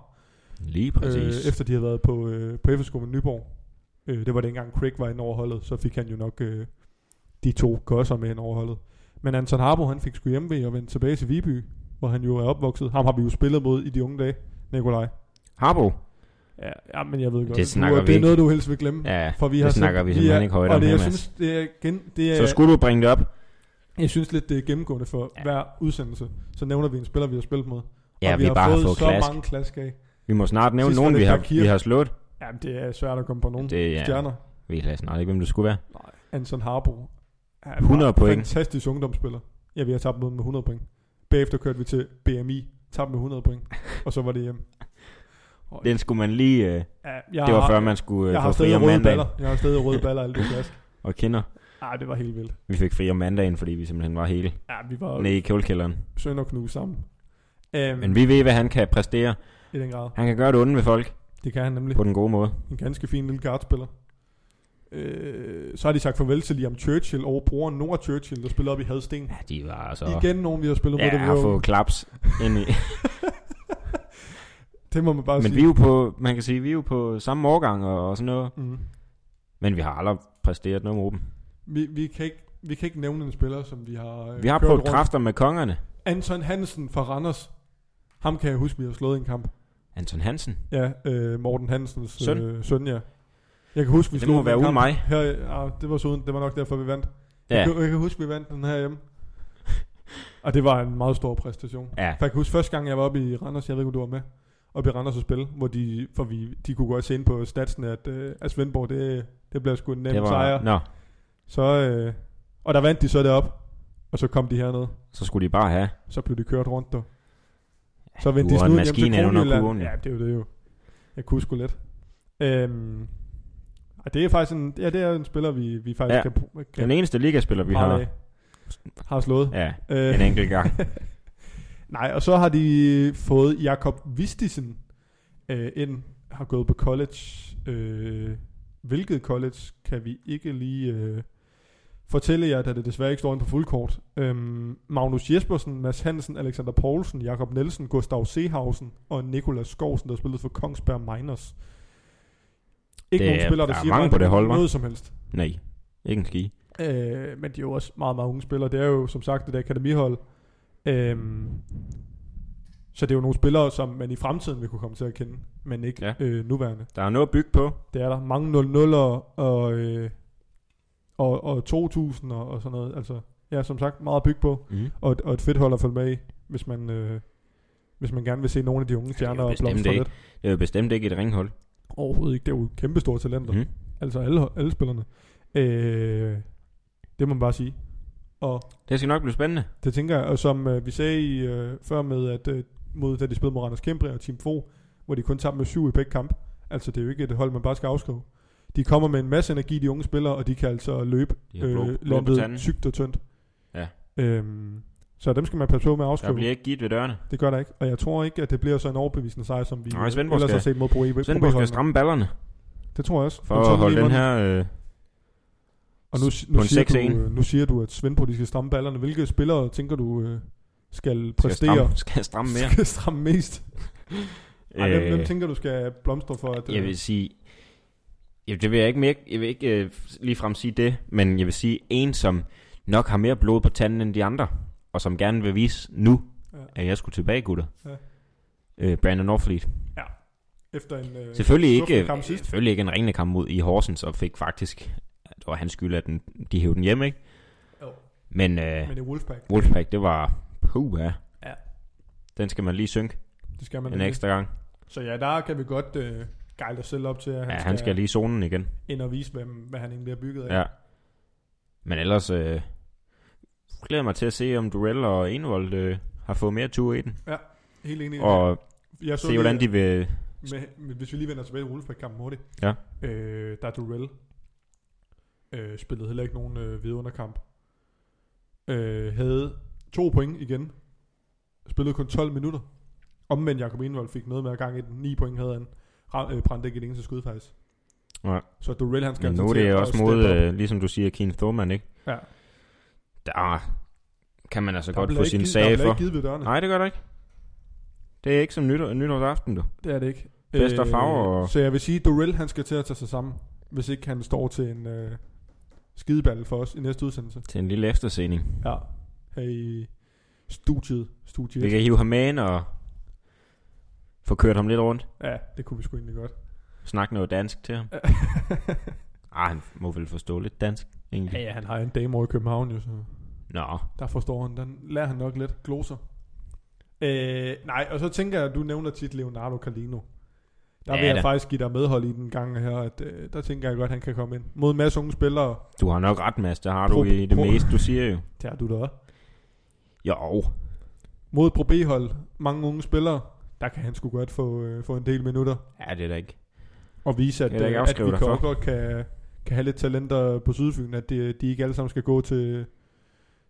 S2: Lige
S1: øh,
S2: præcis.
S1: efter de havde været på, øh, på FSK med Nyborg. Øh, det var dengang Craig var inde over holdet, så fik han jo nok øh, de to gosser med ind over holdet. Men Anton Harbo, han fik sgu hjemme ved og vendte tilbage til Viby, hvor han jo er opvokset. Ham har vi jo spillet mod i de unge dage, Nikolaj.
S2: Harbo.
S1: Ja, ja, men jeg ved godt.
S2: Det snakker
S1: du,
S2: vi
S1: det er
S2: ikke.
S1: noget, du helst vil glemme.
S2: Ja,
S1: For vi
S2: det
S1: har
S2: snakker
S1: set,
S2: vi simpelthen ikke højt
S1: og
S2: om
S1: det,
S2: her,
S1: jeg
S2: Mads.
S1: synes, det er, gen, det er,
S2: Så skulle du bringe det op?
S1: jeg synes lidt, det er gennemgående for
S2: Ja.
S1: ja. hver udsendelse. Så nævner vi en spiller, vi har spillet mod.
S2: Ja,
S1: og
S2: vi, vi bare har fået
S1: så
S2: klask.
S1: mange klask af.
S2: Vi må snart nævne
S1: Sidst var
S2: nogen,
S1: det
S2: vi har,
S1: Shakira.
S2: vi har slået.
S1: Jamen, det er svært at komme på nogen
S2: Det
S1: det,
S2: er-
S1: ja. stjerner.
S2: Vi ved snart ikke, hvem det skulle være.
S1: Anson Harbo. er bare
S2: 100 point.
S1: Fantastisk ungdomsspiller. Ja, vi har tabt mod med 100 point. Bagefter kørte vi til BMI, tabt med 100 point, og så var det hjem. Og,
S2: Den skulle man lige... Øh,
S1: ja, jeg
S2: det var
S1: har-
S2: før, man skulle øh,
S1: Jeg
S2: få
S1: har
S2: fri
S1: stadig
S2: om
S1: røde
S2: mandagen.
S1: baller. Jeg har stadig røde baller, alt det klask.
S2: Og kender.
S1: Ej, det var helt vildt.
S2: Vi fik fri om mandagen, fordi vi simpelthen var hele
S1: Ja, vi var
S2: nede i kjolekælderen.
S1: sønder knuse sammen. Um,
S2: Men vi ved, hvad han kan præstere.
S1: I den grad.
S2: Han kan gøre det onde ved folk
S1: Det kan han nemlig.
S2: på den gode måde.
S1: En ganske fin lille guardspiller. Øh, så har de sagt farvel til Liam Churchill over broren Nora Churchill, der spiller op i Hadsten.
S2: Ja, de var altså- så...
S1: Igen nogen, vi har spillet med.
S2: Ja,
S1: det,
S2: har
S1: var jo-
S2: fået klaps ind i.
S1: det må man bare
S2: Men vi
S1: sige.
S2: er jo på, man kan sige, vi er jo på samme årgang og, og sådan noget.
S1: Mm.
S2: Men vi har aldrig præsteret noget mod dem.
S1: Vi, vi, kan ikke, vi kan ikke nævne en spiller, som vi har øh,
S2: Vi har
S1: kørt
S2: prøvet
S1: rundt.
S2: kræfter med kongerne.
S1: Anton Hansen fra Randers. Ham kan jeg huske, vi har slået i en kamp.
S2: Anton Hansen.
S1: Ja, øh, Morten Hansens
S2: Søn.
S1: Øh, søn, ja. Jeg kan huske, vi
S2: Det
S1: slog
S2: må
S1: dem i
S2: være
S1: en
S2: uden
S1: kamp.
S2: mig.
S1: Her, ah, det var så uden, det var nok derfor, vi vandt.
S2: Ja,
S1: Jeg, kan, jeg kan huske, vi vandt den her hjemme. Og det var en meget stor præstation.
S2: ja.
S1: For jeg kan huske første gang, jeg var oppe i Randers, jeg ved ikke, om du var med, oppe i Randers og spille, hvor de, for vi, de kunne godt se ind på statsen, at, øh, at Svendborg, det, det blev sgu en nem
S2: Det var,
S1: sejr.
S2: nå,
S1: Så, øh, og der vandt de så derop, og så kom de herned,
S2: så skulle de bare have.
S1: så blev de kørt rundt der. Så vendte
S2: du
S1: de
S2: var en
S1: snuden hjem
S2: maskine
S1: til
S2: under
S1: Kronjylland.
S2: kurven, ja.
S1: Ja, det er jo det jo. Jeg kunne sgu lidt. Øhm, og det er faktisk en, ja, det er en spiller, vi, vi faktisk
S2: Ja.
S1: kan, kan
S2: Den eneste ligaspiller, vi har.
S1: prale af. har slået.
S2: Ja,
S1: Øh,
S2: en enkelt gang.
S1: Nej, og så har de fået Jakob Vistisen øh, ind, har gået på college. Øh, hvilket college kan vi ikke lige øh, fortælle jer, da det desværre ikke står inde på fuldkort. Øhm, Magnus Jespersen, Mads Hansen, Alexander Poulsen, Jakob Nielsen, Gustav Seehausen og Nikolas Skovsen, der spillede for Kongsberg Miners. Ikke
S2: Det
S1: nogen
S2: er-
S1: spillere, der,
S2: der er
S1: siger
S2: mange
S1: mig
S2: på det hold, hva'?
S1: noget som helst.
S2: Nej, ikke en ski.
S1: Øh, men de er jo også meget, meget unge spillere. Det er jo som sagt et akademihold. Øhm, så det er jo nogle spillere, som man i fremtiden vil kunne komme til at kende, men ikke
S2: Ja.
S1: ja. øh, nuværende.
S2: Der er noget at bygge på.
S1: Det er der mange 0-0'er og, øh, og, og 2000 og, og sådan noget. Altså, ja, som sagt, meget at bygge på,
S2: Mm.
S1: og, et- og et fedt hold at følge med i, hvis man, øh, hvis man gerne vil se nogle af de unge stjerner og
S2: bestemt
S1: blomstre
S2: ikke.
S1: lidt.
S2: Det er jo bestemt ikke et ringhold.
S1: Overhovedet ikke. Det er jo kæmpe store talenter.
S2: Mm.
S1: Altså alle, alle spillerne. Øh, det må man bare sige. Og
S2: Det skal nok blive spændende.
S1: Det tænker jeg, og som øh, vi sagde i, øh, før med, at øh, mod, da de spillede mod Randers Kæmpe og Team Fo, hvor de kun tabte med syv i begge kamp. Altså, det er jo ikke et hold, man bare skal afskrive. De kommer med en masse energi, de unge spillere, og de kan altså løbe
S2: De har blå,
S1: øh,
S2: blå på
S1: landet
S2: tanden.
S1: tykt og tyndt.
S2: Ja.
S1: Øhm, så dem skal man passe på med at
S2: Der
S1: afskrive.
S2: bliver ikke givet ved dørene.
S1: Det gør der ikke. Og jeg tror ikke, at det bliver så en overbevisende sejr, som vi
S2: Nej,
S1: øh,
S2: Svendborg
S1: ellers har
S2: skal-
S1: set mod Pro EB.
S2: Svendborg skal stramme ballerne
S1: Det tror jeg også.
S2: for
S1: Men
S2: at
S1: sådan
S2: holde
S1: lige
S2: den
S1: måden-
S2: her... Øh,
S1: Og nu,
S2: på
S1: nu,
S2: en
S1: siger
S2: 6-1.
S1: du, øh, nu siger du, at Svendborg de skal stramme ballerne. Hvilke spillere tænker du øh, skal
S2: skal,
S1: præstere?
S2: stramme, skal stramme mere.
S1: Skal stramme mest. Ej, hvem, hvem
S2: Øh,
S1: tænker du skal blomstre for? At,
S2: Jeg vil sige... Jamen, det vil jeg ikke, mere, jeg vil ikke øh, ligefrem sige det, men jeg vil sige en, som nok har mere blod på tanden end de andre, og som gerne vil vise nu,
S1: Ja.
S2: at jeg skulle tilbage, gutter. Ja.
S1: Ja.
S2: Øh, Brandon Norfleet.
S1: Efter en... Øh,
S2: Selvfølgelig ikke,
S1: skuffende kamp sidst.
S2: selvfølgelig ikke en ringende kamp mod i Horsens, og fik faktisk... Det var hans skyld, at den, de hævde den hjem, ikke?
S1: Jo.
S2: Men øh,
S1: Men i Wolfpack,
S2: Wolfpack, det var... Puh, ja.
S1: Ja.
S2: Den skal man lige synke
S1: det skal man
S2: en
S1: ikke.
S2: ekstra gang.
S1: Så ja, der kan vi godt øh, gejle os selv op til, at han,
S2: Ja, han skal lige i zonen igen.
S1: ind og vise, hvad, hvad han egentlig er bygget af.
S2: Ja. Men ellers øh, glæder jeg mig til at se, om Durell og Enevold øh, har fået mere tur i den.
S1: Helt enig.
S2: Og
S1: jeg
S2: se, hvordan
S1: lige, øh,
S2: de vil...
S1: Med, med, hvis vi lige vender tilbage til Wolfpack-kampen hurtigt.
S2: Ja.
S1: Øh, der er Durell. Øh, spillede heller ikke nogen øh, vidunderkamp. Øh, havde to point igen. Spillede kun 12 minutter. Omvendt Jakob Enevold fik noget med at gang i den. 9 point havde han. Ra- øh, brændte ikke et eneste skud faktisk.
S2: Ja.
S1: Så Durell han skal altså
S2: Men nu er
S1: til
S2: det
S1: at
S2: også
S1: steppe
S2: mod,
S1: op.
S2: øh, ligesom du siger, Keen Thorman, ikke?
S1: Ja.
S2: Der kan man altså
S1: Der
S2: godt
S1: bliver
S2: få
S1: ikke
S2: sin
S1: givet-
S2: sag
S1: Der bliver
S2: for.
S1: ikke givet ved dørene.
S2: Nej, det gør der ikke. Det er ikke som nytår, nytårsaften, du.
S1: Det er det ikke. Øh,
S2: Fest og farver og-
S1: Så jeg vil sige, Dorel han skal til at tage sig sammen, hvis ikke han står til en øh, skideball for os i næste udsendelse.
S2: Til en lille efterscening.
S1: Ja. Her i studiet. studiet.
S2: Vi kan hive ham med ind og få kørt ham lidt rundt.
S1: Ja, det kunne vi sgu egentlig godt.
S2: Snak noget dansk til ham. Ah, han må vel forstå lidt dansk,
S1: ja,
S2: egentlig.
S1: ja, han har en dame over i København jo, så
S2: Nå,
S1: der forstår han, der lærer han nok lidt gloser. Øh, nej, og så tænker jeg, at du nævner tit Leonardo Carlino. Der
S2: Ja,
S1: ja, vil jeg
S2: da.
S1: da. faktisk give dig medhold i den gang her, at øh, der tænker jeg godt, at han kan komme ind. Mod en masse unge spillere,
S2: du har nok ret, Mads. Det har du
S1: Pro-
S2: i det
S1: pro-
S2: meste, du siger jo.
S1: tager du da også.
S2: Jo,
S1: Mod et Pro B-hold, mange unge spillere, der kan han sgu godt få, øh, få en del minutter.
S2: ja, det er da ikke.
S1: og vise, at,
S2: Det kan jeg ikke
S1: øh, at vi
S2: afskrive
S1: kan
S2: dig for.
S1: også godt kan, kan have lidt talenter på Sydfyn, at de, de ikke alle sammen skal gå til,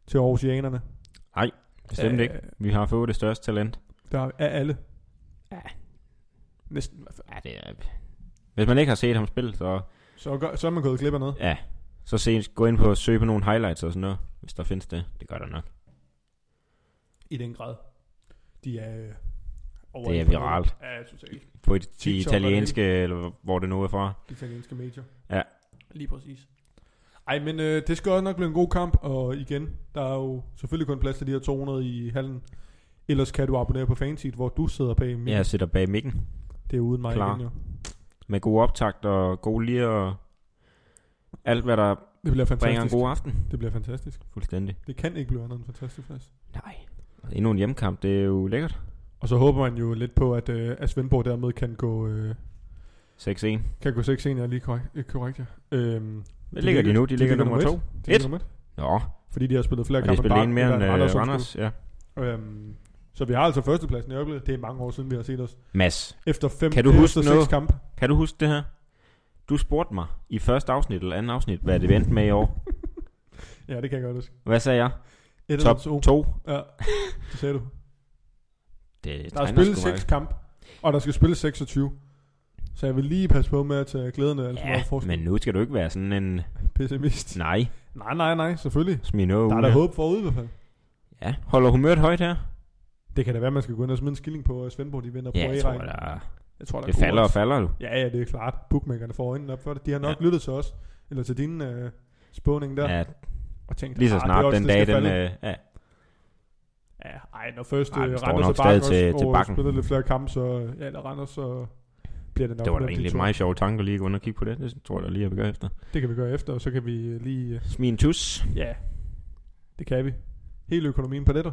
S1: til Aarhusianerne.
S2: Bestemt
S1: Øh,
S2: ikke. Vi har fået det største talent.
S1: Der er alle.
S2: Ja.
S1: Næsten i hvert fald.
S2: Ja, det er... Hvis man ikke har set ham spille, så,
S1: Så, gør, så er man gået glip af noget.
S2: ja, så se, gå ind på og søge på nogle highlights og sådan noget, hvis der findes det. Det gør der nok.
S1: I den grad. De er øh, over
S2: Det er
S1: alt for
S2: viralt.
S1: noget. Ja, jeg synes ikke.
S2: På de, de
S1: TikTok og det
S2: italienske, eller hvor det nu er fra.
S1: De italienske medier.
S2: Ja.
S1: Lige præcis. Ej, men øh, det skal også nok blive en god kamp, og igen, der er jo selvfølgelig kun plads til de her 200 i hallen. Ellers kan du abonnere på Fanseat, hvor du sidder bag mig.
S2: Jeg sidder bag mikken
S1: Det er uden mig
S2: Klar.
S1: igen jo.
S2: med god optakt og god lir og alt, hvad der
S1: Det bliver
S2: bringer en
S1: fantastisk.
S2: god aften.
S1: Det bliver fantastisk.
S2: Fuldstændig.
S1: Det kan ikke blive andet end fantastisk faktisk.
S2: Nej. Endnu en hjemmekamp, det er jo lækkert.
S1: Og så håber man jo lidt på, at, øh, at Svendborg dermed kan gå, øh,
S2: 6-1.
S1: kan gå 6 1 lige korrekt. Øh, korrekt ja. øhm,
S2: Hvad ligger de nu? De ligger nummer 2.
S1: De ligger nummer et,
S2: Nå,
S1: fordi de har spillet flere
S2: og de
S1: kampe
S2: spiller en mere end
S1: end
S2: øh,
S1: Randers.
S2: Randers. Ja.
S1: undskyld. Øhm, så vi har altså førstepladsen i øjeblikket. Det er mange år siden, vi har set os.
S2: Mads,
S1: Efter fem,
S2: Kan du
S1: efter
S2: huske
S1: seks
S2: noget?
S1: kampe.
S2: Kan du huske det her? Du spurgte mig i første afsnit eller anden afsnit, hvad det vendte med i år.
S1: Ja, det kan jeg godt huske.
S2: Hvad sagde jeg?
S1: Et
S2: Top
S1: eller to.
S2: 2.
S1: Ja, det sagde du.
S2: Det
S1: Der er
S2: tegner
S1: spillet
S2: sgu
S1: 6
S2: meget.
S1: kampe, og der skal spilles 26. Så jeg vil lige passe på med at tage glæden af alt for meget
S2: Ja,
S1: forskel.
S2: men nu skal du ikke være sådan en...
S1: Pessimist.
S2: Nej,
S1: Nej, nej, nej, selvfølgelig.
S2: smid noget
S1: Der
S2: ud
S1: er der
S2: her.
S1: håb forude i hvert fald.
S2: Ja, holder humøret højt her?
S1: Det kan da være, man skal gå ind og smide en skilling på, at Svendborg de vinder
S2: Ja,
S1: på
S2: jeg tror,
S1: A-rækken.
S2: der,
S1: Jeg tror, der
S2: det
S1: er gode
S2: falder og
S1: odds.
S2: falder du.
S1: Ja, ja, det er klart. Bookmakerne får øjnene op for det. De har nok ja. lyttet til os, eller til din øh, spåning der, ja.
S2: Ja,
S1: og tænkt,
S2: lige så
S1: "Ah, det er
S2: snart
S1: odds,
S2: den
S1: det
S2: dag,
S1: skal
S2: den...
S1: falde."
S2: Øh, ja,
S1: Ja, ej, når først
S2: Ej,
S1: øh,
S2: den står
S1: Randers
S2: nok
S1: og Bakken
S2: stadig til-
S1: også
S2: til
S1: og
S2: Bakken.
S1: spiller lidt flere kampe, så ja, eller Randers, så bliver det nok.
S2: det var da
S1: mellem de
S2: egentlig
S1: to.
S2: en meget sjov tanke lige at gå ind og kigge på det. Det tror jeg da lige, at vi gør efter. Mm.
S1: Det kan vi gøre efter, og så kan vi øh, lige... øh,
S2: Smid en tus.
S1: Ja, det kan vi. Hele økonomien på dette.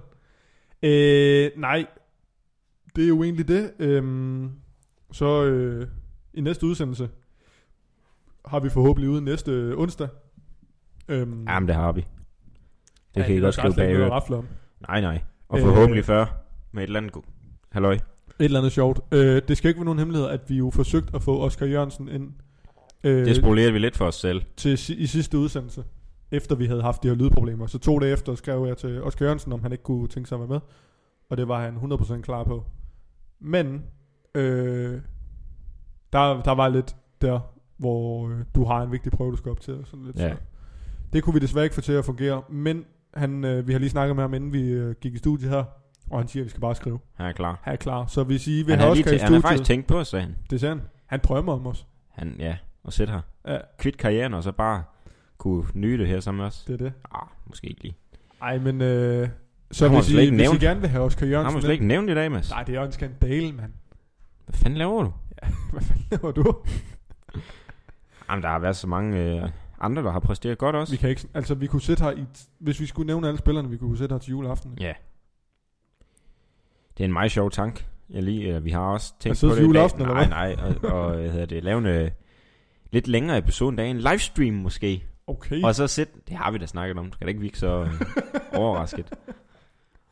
S1: Øh, nej, det er jo egentlig det. Øhm, så øh, i næste udsendelse har vi forhåbentlig ude næste øh, onsdag. Øhm,
S2: Jamen, det har vi. Det
S1: ja,
S2: kan I
S1: er
S2: godt
S1: der
S2: skrive
S1: slet
S2: bag
S1: ikke noget at
S2: øret.
S1: rafle om.
S2: Nej, nej. Og
S1: Øh,
S2: forhåbentlig før med et eller andet god. Halløj.
S1: Et eller andet sjovt. Øh, det skal ikke være nogen hemmelighed, at vi jo forsøgte at få Oscar Jørgensen ind øh,
S2: Det spolerede vi lidt for os selv.
S1: til, si- i sidste udsendelse, efter vi havde haft de her lydproblemer. Så to dage efter skrev jeg til Oscar Jørgensen, om han ikke kunne tænke sig at være med. Og det var han 100% klar på. Men øh, der, der var lidt der, hvor øh, du har en vigtig prøve, du skal op til. Og sådan lidt,
S2: Ja.
S1: så. Det kunne vi desværre ikke få til at fungere. Men han, øh, vi har lige snakket med ham, inden vi øh, gik i studiet her. Og han siger, at vi skal bare skrive.
S2: Han er klar.
S1: Han er klar. Så hvis I vil
S2: Han
S1: have
S2: har, lige
S1: Oscar i
S2: tæ- han har faktisk
S1: studiet,
S2: tænkt på, os, sagde han.
S1: det sagde han. Han drømmer om os.
S2: Han, ja, og sætte her.
S1: Ja,
S2: Kvit karrieren, og så bare kunne nyde det her sammen med os.
S1: det er det.
S2: Ah, måske ikke lige.
S1: Ej, men øh, så
S2: Ham har
S1: hvis
S2: du
S1: I,
S2: slet ikke
S1: hvis I
S2: nævnt.
S1: gerne vil have Oscar
S2: Han må
S1: Jørgensen
S2: slet ikke nævne det i dag, Mads.
S1: ind- Nej, det er jo en skandale, mand.
S2: Hvad fanden laver du?
S1: Hvad fanden laver du?
S2: Jamen, der har været så mange øh, andre, der har præsteret godt også.
S1: Vi kan ikke, altså, vi kunne sidde her i... Hvis vi skulle nævne alle spillerne, vi kunne sidde her til juleaften.
S2: Ja. Det er en meget sjov tank. Jeg lige, eller vi har også tænkt
S1: sidde
S2: på
S1: til
S2: det i dag.
S1: Altså, juleaften, eller
S2: Nej, nej. Og, og hvad hedder det, lave en øh, lidt længere episode en dag. En livestream måske.
S1: Okay.
S2: Og så sæt, det har vi da snakket om. Skal da ikke virke så øh, overrasket.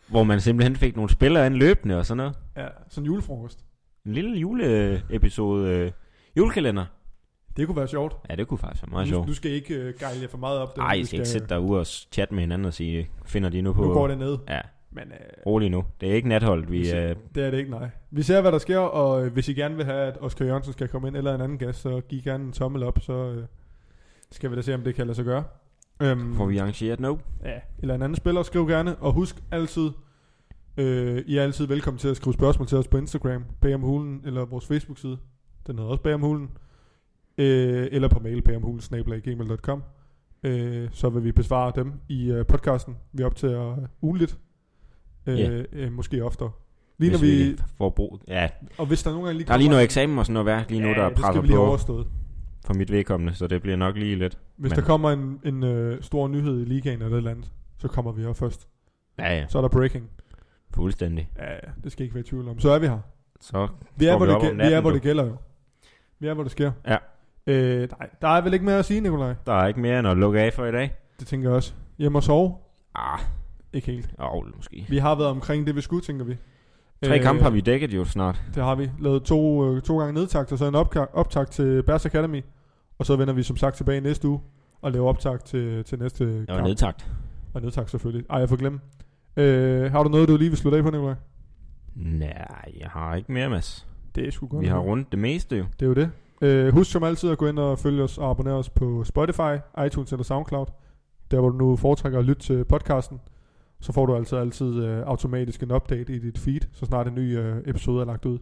S2: Hvor man simpelthen fik nogle spillere ind løbende og sådan noget.
S1: Ja, sådan en julefrokost.
S2: En lille juleepisode. Øh, julekalender.
S1: Det kunne være sjovt.
S2: Ja, det kunne faktisk være meget
S1: Nu,
S2: sjovt.
S1: nu skal I ikke øh, gejle jer for meget op.
S2: Nej,
S1: Vi
S2: I skal ikke sidde derude og s- chatte med hinanden og sige, finder de nu på...
S1: Nu går det ned.
S2: Ja,
S1: Men øh,
S2: rolig nu. Det er ikke natholdt, vi...
S1: Vi
S2: Øh,
S1: det er det ikke, nej. Vi ser, hvad der sker, og øh, hvis I gerne vil have, at Oscar Jørgensen skal komme ind, eller en anden gæst, så giv gerne en tommel op, så øh, skal vi da se, om det kan lade sig gøre. Øhm,
S2: får vi arrangeret nu.
S1: ja, eller en anden spiller, skriv gerne. Og husk altid, øh, I er altid velkommen til at skrive spørgsmål til os på Instagram, bag om hulen, eller vores Facebook-side, den hedder også bag om hulen, øh, eller på mail bagomhulen.gmail.com. Øh, så vil vi besvare dem i øh, podcasten. Vi optager ugenligt, øh,
S2: Ja.
S1: yeah. øh, måske oftere. Lige når
S2: hvis
S1: vi,
S2: vi får brug. Ja,
S1: og hvis der nogle gange lige
S2: der er lige
S1: kommer-
S2: noget eksamen og sådan noget værk lige nu,
S1: Ja,
S2: der
S1: det skal
S2: presser
S1: vi lige
S2: på
S1: overstået.
S2: for mit vedkommende, så det bliver nok lige lidt.
S1: Hvis
S2: Men-
S1: der kommer en, en øh, stor nyhed i ligaen eller et eller andet, så kommer vi her først.
S2: Ja, ja,
S1: Så er der breaking.
S2: fuldstændig.
S1: Ja, ja, det skal ikke være i tvivl om. Så er vi her.
S2: Så
S1: Vi er,
S2: Står
S1: hvor
S2: vi
S1: det,
S2: op om
S1: gæ- vi er,
S2: natten,
S1: hvor
S2: du.
S1: det gælder jo. Vi er, hvor det sker.
S2: Ja.
S1: Øh, nej, der er vel ikke mere at sige, Nikolaj.
S2: der er ikke mere end at lukke af for i dag.
S1: Det tænker jeg også. Hjem og sove?
S2: Ah,
S1: Ikke helt.
S2: oh, måske.
S1: Vi har været omkring det, vi skulle, tænker vi.
S2: Tre
S1: Øh,
S2: kampe har vi dækket jo snart.
S1: Det har vi. Lavet to, øh, to gange nedtakt, og så en opka- optakt til Bears Academy. Og så vender vi som sagt tilbage næste uge og laver optakt til, til næste
S2: Jeg
S1: kamp.
S2: var nedtagt.
S1: Og nedtakt selvfølgelig. Ej, jeg får glemt. Øh, har du noget, du lige vil slutte af på, Nikolaj?
S2: Nej, jeg har ikke mere, Mads.
S1: Det er sgu godt.
S2: Vi har rundt det meste jo.
S1: Det er jo det. Øh, husk som altid at gå ind og følge os og abonnere os på Spotify, iTunes eller Soundcloud. Der hvor du nu foretrækker at lytte til podcasten. Så får du altså altid øh, automatisk en update i dit feed, så snart en ny øh, episode er lagt ud.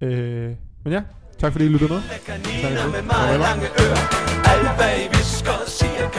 S1: Øh, men ja, tak fordi I lyttede med.
S3: Kaniner med meget lange ører Alle bag visker siger